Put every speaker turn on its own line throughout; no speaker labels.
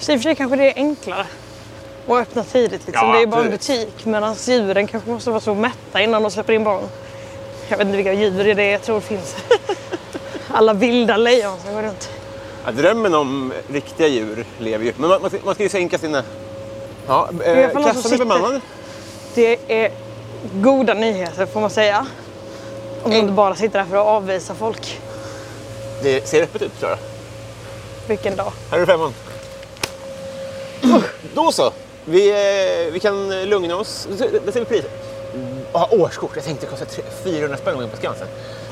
Så i och för sig kanske det är enklare att öppna tidigt. Liksom.
Ja,
det är ju bara en
absolut.
butik medan djuren kanske måste vara så mätta innan de släpper in barn. Jag vet inte vilka djur det är jag tror finns. Alla vilda lejon som går runt.
Ja, drömmen om riktiga djur lever ju. Men man, man, ska, man ska ju sänka sina... Ja,
alla
eh,
som
kassan är
sitter.
bemannad.
Det är goda nyheter får man säga. Om de
Mm.
inte bara sitter där för att avvisa folk.
Det ser öppet ut, Klara.
Vilken dag.
Här är femman. Då så. Vi, eh, vi kan lugna oss. Där ser- Där ser vi priset. Ja, årskort. Jag tänkte det kostar tre- 400 spänn att gå in på Skansen.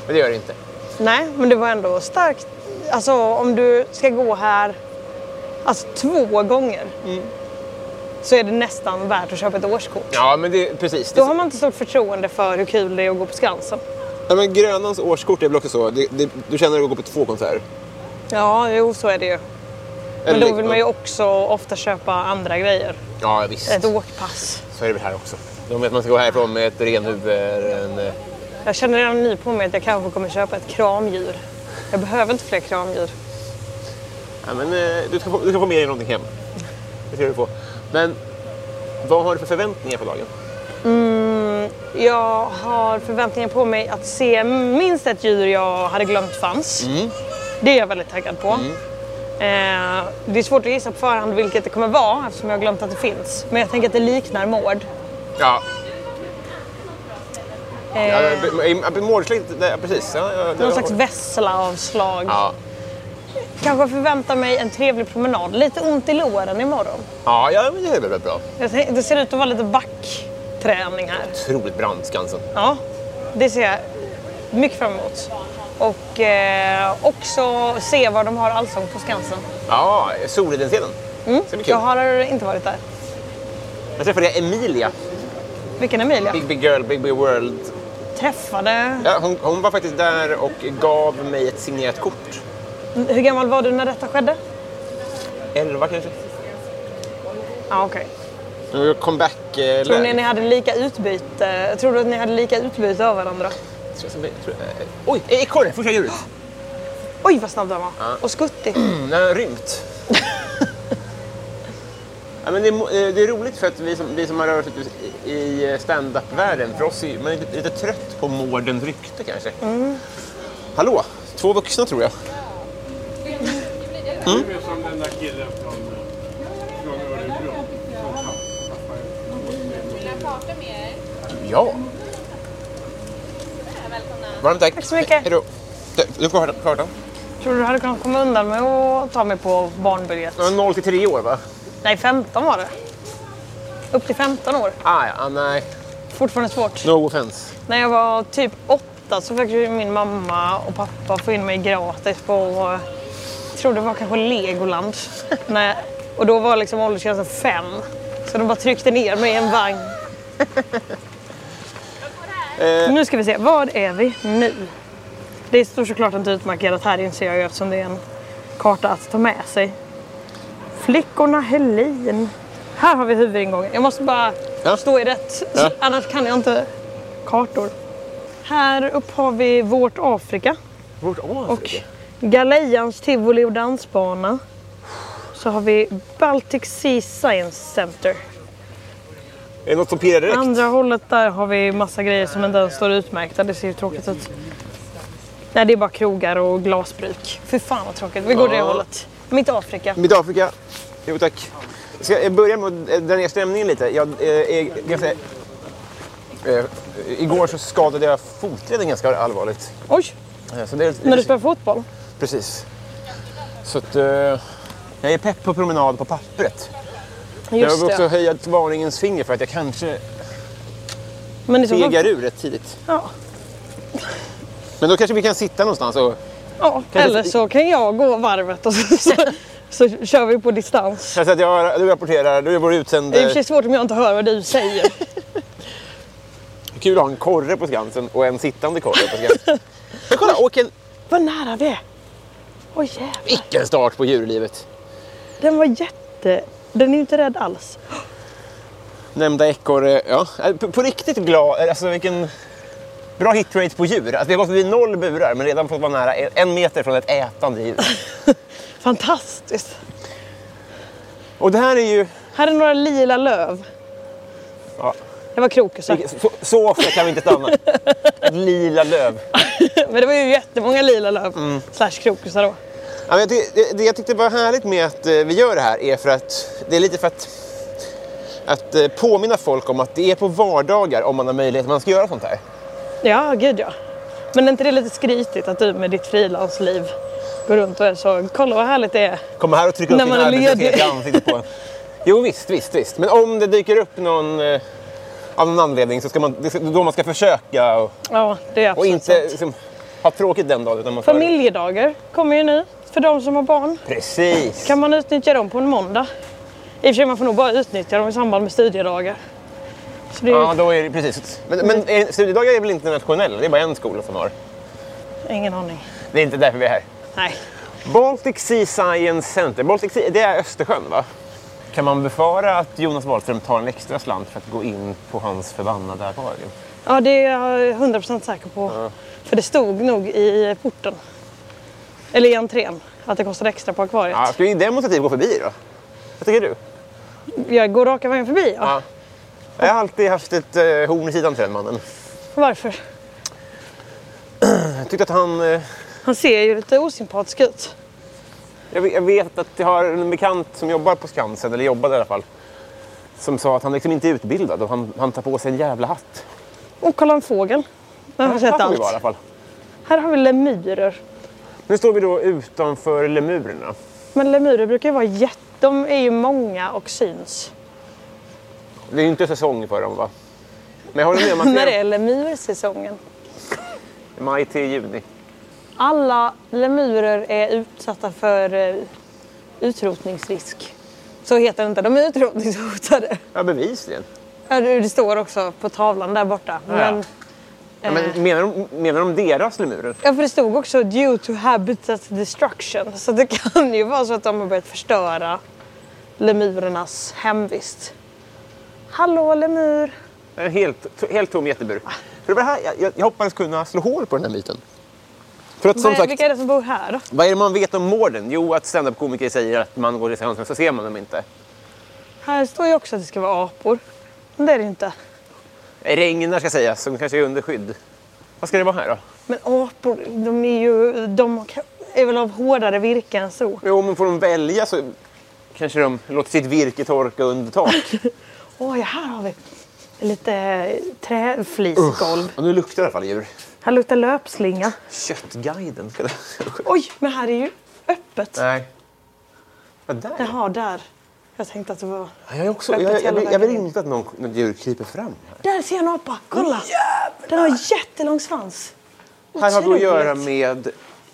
Men det gör det inte.
Nej, men det var ändå starkt. Alltså om du ska gå här alltså, två gånger så är det nästan värt att köpa ett årskort.
Mm. Ja, men det, precis.
Då har man inte stort förtroende för hur kul det är att gå på Skansen.
ja, men Grönans årskort är väl också så. Det, det, du känner att du går på två konserter.
Ja, jo så är det ju. Men
Eller-
då vill man ju också ofta köpa andra grejer.
Ja, visst.
Ett åkpass.
Så är det väl här också. De vet att man ska gå härifrån med ett renhuvud. En... eh,
Jag känner redan nu på mig att jag kanske kommer köpa ett kramdjur. Jag behöver inte fler kramdjur.
Ja, men, eh, du, ska få, du ska få med dig någonting hem. Det ska du få. Men vad har du för förväntningar på dagen?
Jag har förväntningar på mig att
Mm.
se minst ett djur jag hade glömt fanns. Det är jag väldigt taggad på. Eh, det är svårt att gissa på förhand vilket det kommer vara eftersom jag har glömt att det finns. Men jag tänker att det liknar Mård.
Ja,
Eh,
ja Mårdsligt, precis. Ja, ja, det-
någon slags Vessla-avslag.
ja.
Kanske förväntar mig en trevlig promenad. Lite ont i låren imorgon.
Ja, ja, men det är väl rätt bra.
Jag tänk- Det ser ut att vara lite backträning här.
Otroligt brant Skansen.
Ja, det ser jag mycket fram emot. Och eh, också se vad de har allsång på Skansen.
Ja, Solidenscenen. Mm, det blir kul.
Jag har inte varit där.
Jag träffade Emilia,
Vilken Emilia?
Big Big Girl, Big Big World.
Träffade...
Ja, hon, hon var faktiskt där och gav mig ett signerat kort.
Hur gammal var du när detta skedde?
Elva kanske.
Ja, okej.
Det var comeback eh,
Tror ni
läge.
ni hade lika utbyte? Tror du att ni hade lika utbyte av varandra?
Tror jag som det- tror jag- eh, Oj, eh, ekorre! Första djuret.
Oj, vad snabb den var. Och skuttig.
Mm, den har rymt. ja, men det, är, mo- eh, det är roligt för att vi som, vi som har rört oss i, i stand-up-världen, för oss är man är lite, lite trött på mårdens rykte kanske.
Mm.
Hallå, två vuxna tror jag. Mm.
Du är som den där killen från, eh, från Örebro. Som tapp- tappar
Ja. Varmt tack.
Tack så mycket.
Hej då. Du- Du får ha kartan.
Tror du du hade kunnat komma undan med att ta mig på barnbiljett?
Du var 0 till 3 år va?
Nej, 15 var det. Upp till 15 år.
Ah, ja, ah, nej.
Fortfarande svårt.
No offense.
När jag var typ åtta så fick ju min mamma och pappa få in mig gratis på, eh, jag tror det var kanske Legoland. Nej. Och då var liksom åldersgränsen fem. Så de bara tryckte ner mig i en vagn.
Eh.
Nu ska vi se, vad är vi nu? Det står såklart inte utmarkerat här inser jag ju eftersom det är en karta att ta med sig. Flickorna Helin. Här har vi huvudingången. Jag måste bara
Ja.
stå i rätt,
Ja.
annars kan jag inte kartor. Här upp har vi vårt Afrika
Vårt
och Galejans tivoli och dansbana. Så har vi Baltic Sea Science Center.
Är det något som pirrar direkt?
Andra hållet där har vi massa grejer som inte ens står utmärkta. Det ser ju tråkigt ut. Nej, det är bara krogar och glasbruk. Fy fan vad tråkigt. Vi går
Ja.
det hållet. Mitt Afrika.
Mitt Afrika. Jo tack. Ska jag börja med att eh, dra ner stämningen lite? Jag eh, är ganska... eh, Igår så skadade jag fotleden ganska allvarligt.
Oj,
Eh, Så det är,
när du spelar fotboll.
Precis. Så att... eh, Jag är pepp på promenad på pappret. jag
Just
har också
det.
höjt varningens finger för att jag kanske
Men i så fall-
fegar ur rätt tidigt.
Ja.
Men då kanske vi kan sitta någonstans och...
ja. Eller så kan jag gå varvet och så, så, så kör vi på distans.
Så att jag, du rapporterar, du är vår
Det är i och för
utsände.
sig svårt om jag inte hör vad du säger.
Kul att ha en korre på Skansen och en sittande korre på Skansen. Men kolla, och en,
Vad nära vi är. Åh jävlar.
vilken start på djurlivet.
Den var jätte... Den är ju inte rädd alls.
nämnda ekorre. Ja, Äh, på, på riktigt glad. Alltså vilken bra hitrate på djur. Alltså, vi har gått förbi noll burar men redan fått vara nära en- en meter från ett ätande djur.
Fantastiskt.
Och det här är ju...
Här är några lila löv.
Ja,
Det var krokusar.
så, så ofta kan vi inte stanna. Ett lila löv.
Men det var ju jättemånga lila löv.
Mm.
Slash krokusar då.
Ja, men det, det, det jag tyckte var härligt med att eh, vi gör det här är för att det är lite för att, att eh, påminna folk om att det är på vardagar om man har möjlighet man ska göra sånt här.
Ja, gud ja. Men är inte det lite skrytigt att du med ditt frilansliv går runt och är så, kolla vad härligt det är.
Kommer här och trycker upp
När
sin
man är
arbetslöshet
ledig.
i ansiktet på en. Jo visst, visst, visst. Men om det dyker upp någon eh, av någon anledning så ska man, det är då man ska försöka och,
Ja, det är absolut
och inte
sant.
liksom, ha tråkigt den dagen. Utan man ska-
Familjedagar kommer ju nu för de som har barn.
Precis.
Kan man utnyttja dem på en måndag? I och för sig, man får nog bara utnyttja dem i samband med studiedagar. Så det är ju
Ja, då är det precis. Men, men eh, studiedagar är väl inte nationella? Det är bara en skola som har.
ingen aning.
Det är inte därför vi är här.
Nej.
Baltic Sea Science Center. Baltic sea, det är Östersjön va? Kan man befara att Jonas Wahlström tar en extra slant för att gå in på hans förbannade akvarium?
Ja, det är jag 100% säker på. För det stod nog i porten. Eller i entrén. Att det kostade extra på akvariet.
Ja, ska vi demonstrativt gå förbi då? Vad tycker du?
Jag går raka vägen förbi. Ja.
Ja. Jag har alltid haft ett eh, horn i sidan till den mannen.
Varför?
Jag tyckte att han... Eh,
Han ser ju lite osympatisk ut.
Jag vet, jag vet att jag har en bekant som jobbar på Skansen, eller jobbade i alla fall, som sa att han liksom inte är utbildad och han, han tar på sig en jävla hatt.
Och kolla en fågel. Den har
Här
sett
får vi vara i alla
allt.
fall.
Här har vi lemurer.
Nu står vi då utanför lemurerna.
Men lemurer brukar ju vara jätte... De är ju många och syns.
Det är ju inte säsong för dem va? Men jag håller med om att
När
det
är
är
lemursäsongen?
maj till juni.
Alla lemurer är utsatta för eh, utrotningsrisk. Så heter det inte. De är utrotningshotade.
Ja, bevisligen.
Ja, Det det står också på tavlan där borta. Men,
Ja,
Eh.
men menar, de, menar de deras lemurer?
ja, för det stod också due to habitat destruction. Så det kan ju vara så att de har börjat förstöra lemurernas hemvist. Hallå lemur!
En helt, helt tom jättebur. För det var det här, jag, jag hoppades kunna slå hål på den här myten. För att som
Vad-
sagt,
Vilka är det som bor här då?
vad är det man vet om mården? Jo, att standup-komiker säger att man går i seansen så ser man dem inte.
Här står ju också att det ska vara apor. Men det är det ju inte.
Regnar ska sägas, som kanske är under skydd. Vad ska det vara här då?
Men apor, de är ju... De är väl av hårdare virke än så.
Jo, men får de välja så kanske de låter sitt virke torka under tak.
Oj, här har vi lite eh, träflisgolv.
Och nu luktar det i alla fall djur.
Här luktar löpslinga.
Köttguiden. ska det-
Oj, men här är ju öppet.
Nej. Vad där?
Jaha, där. Jag tänkte att det var...
Ja, Jag, är också, jag,
Öppet
jag, jag,
hela
vill- jag vill
vägen.
inte att någon, något djur kryper fram. Här,
Där ser jag en apa! Kolla! Den har jättelång svans.
här har vi att
Otroligt.
göra med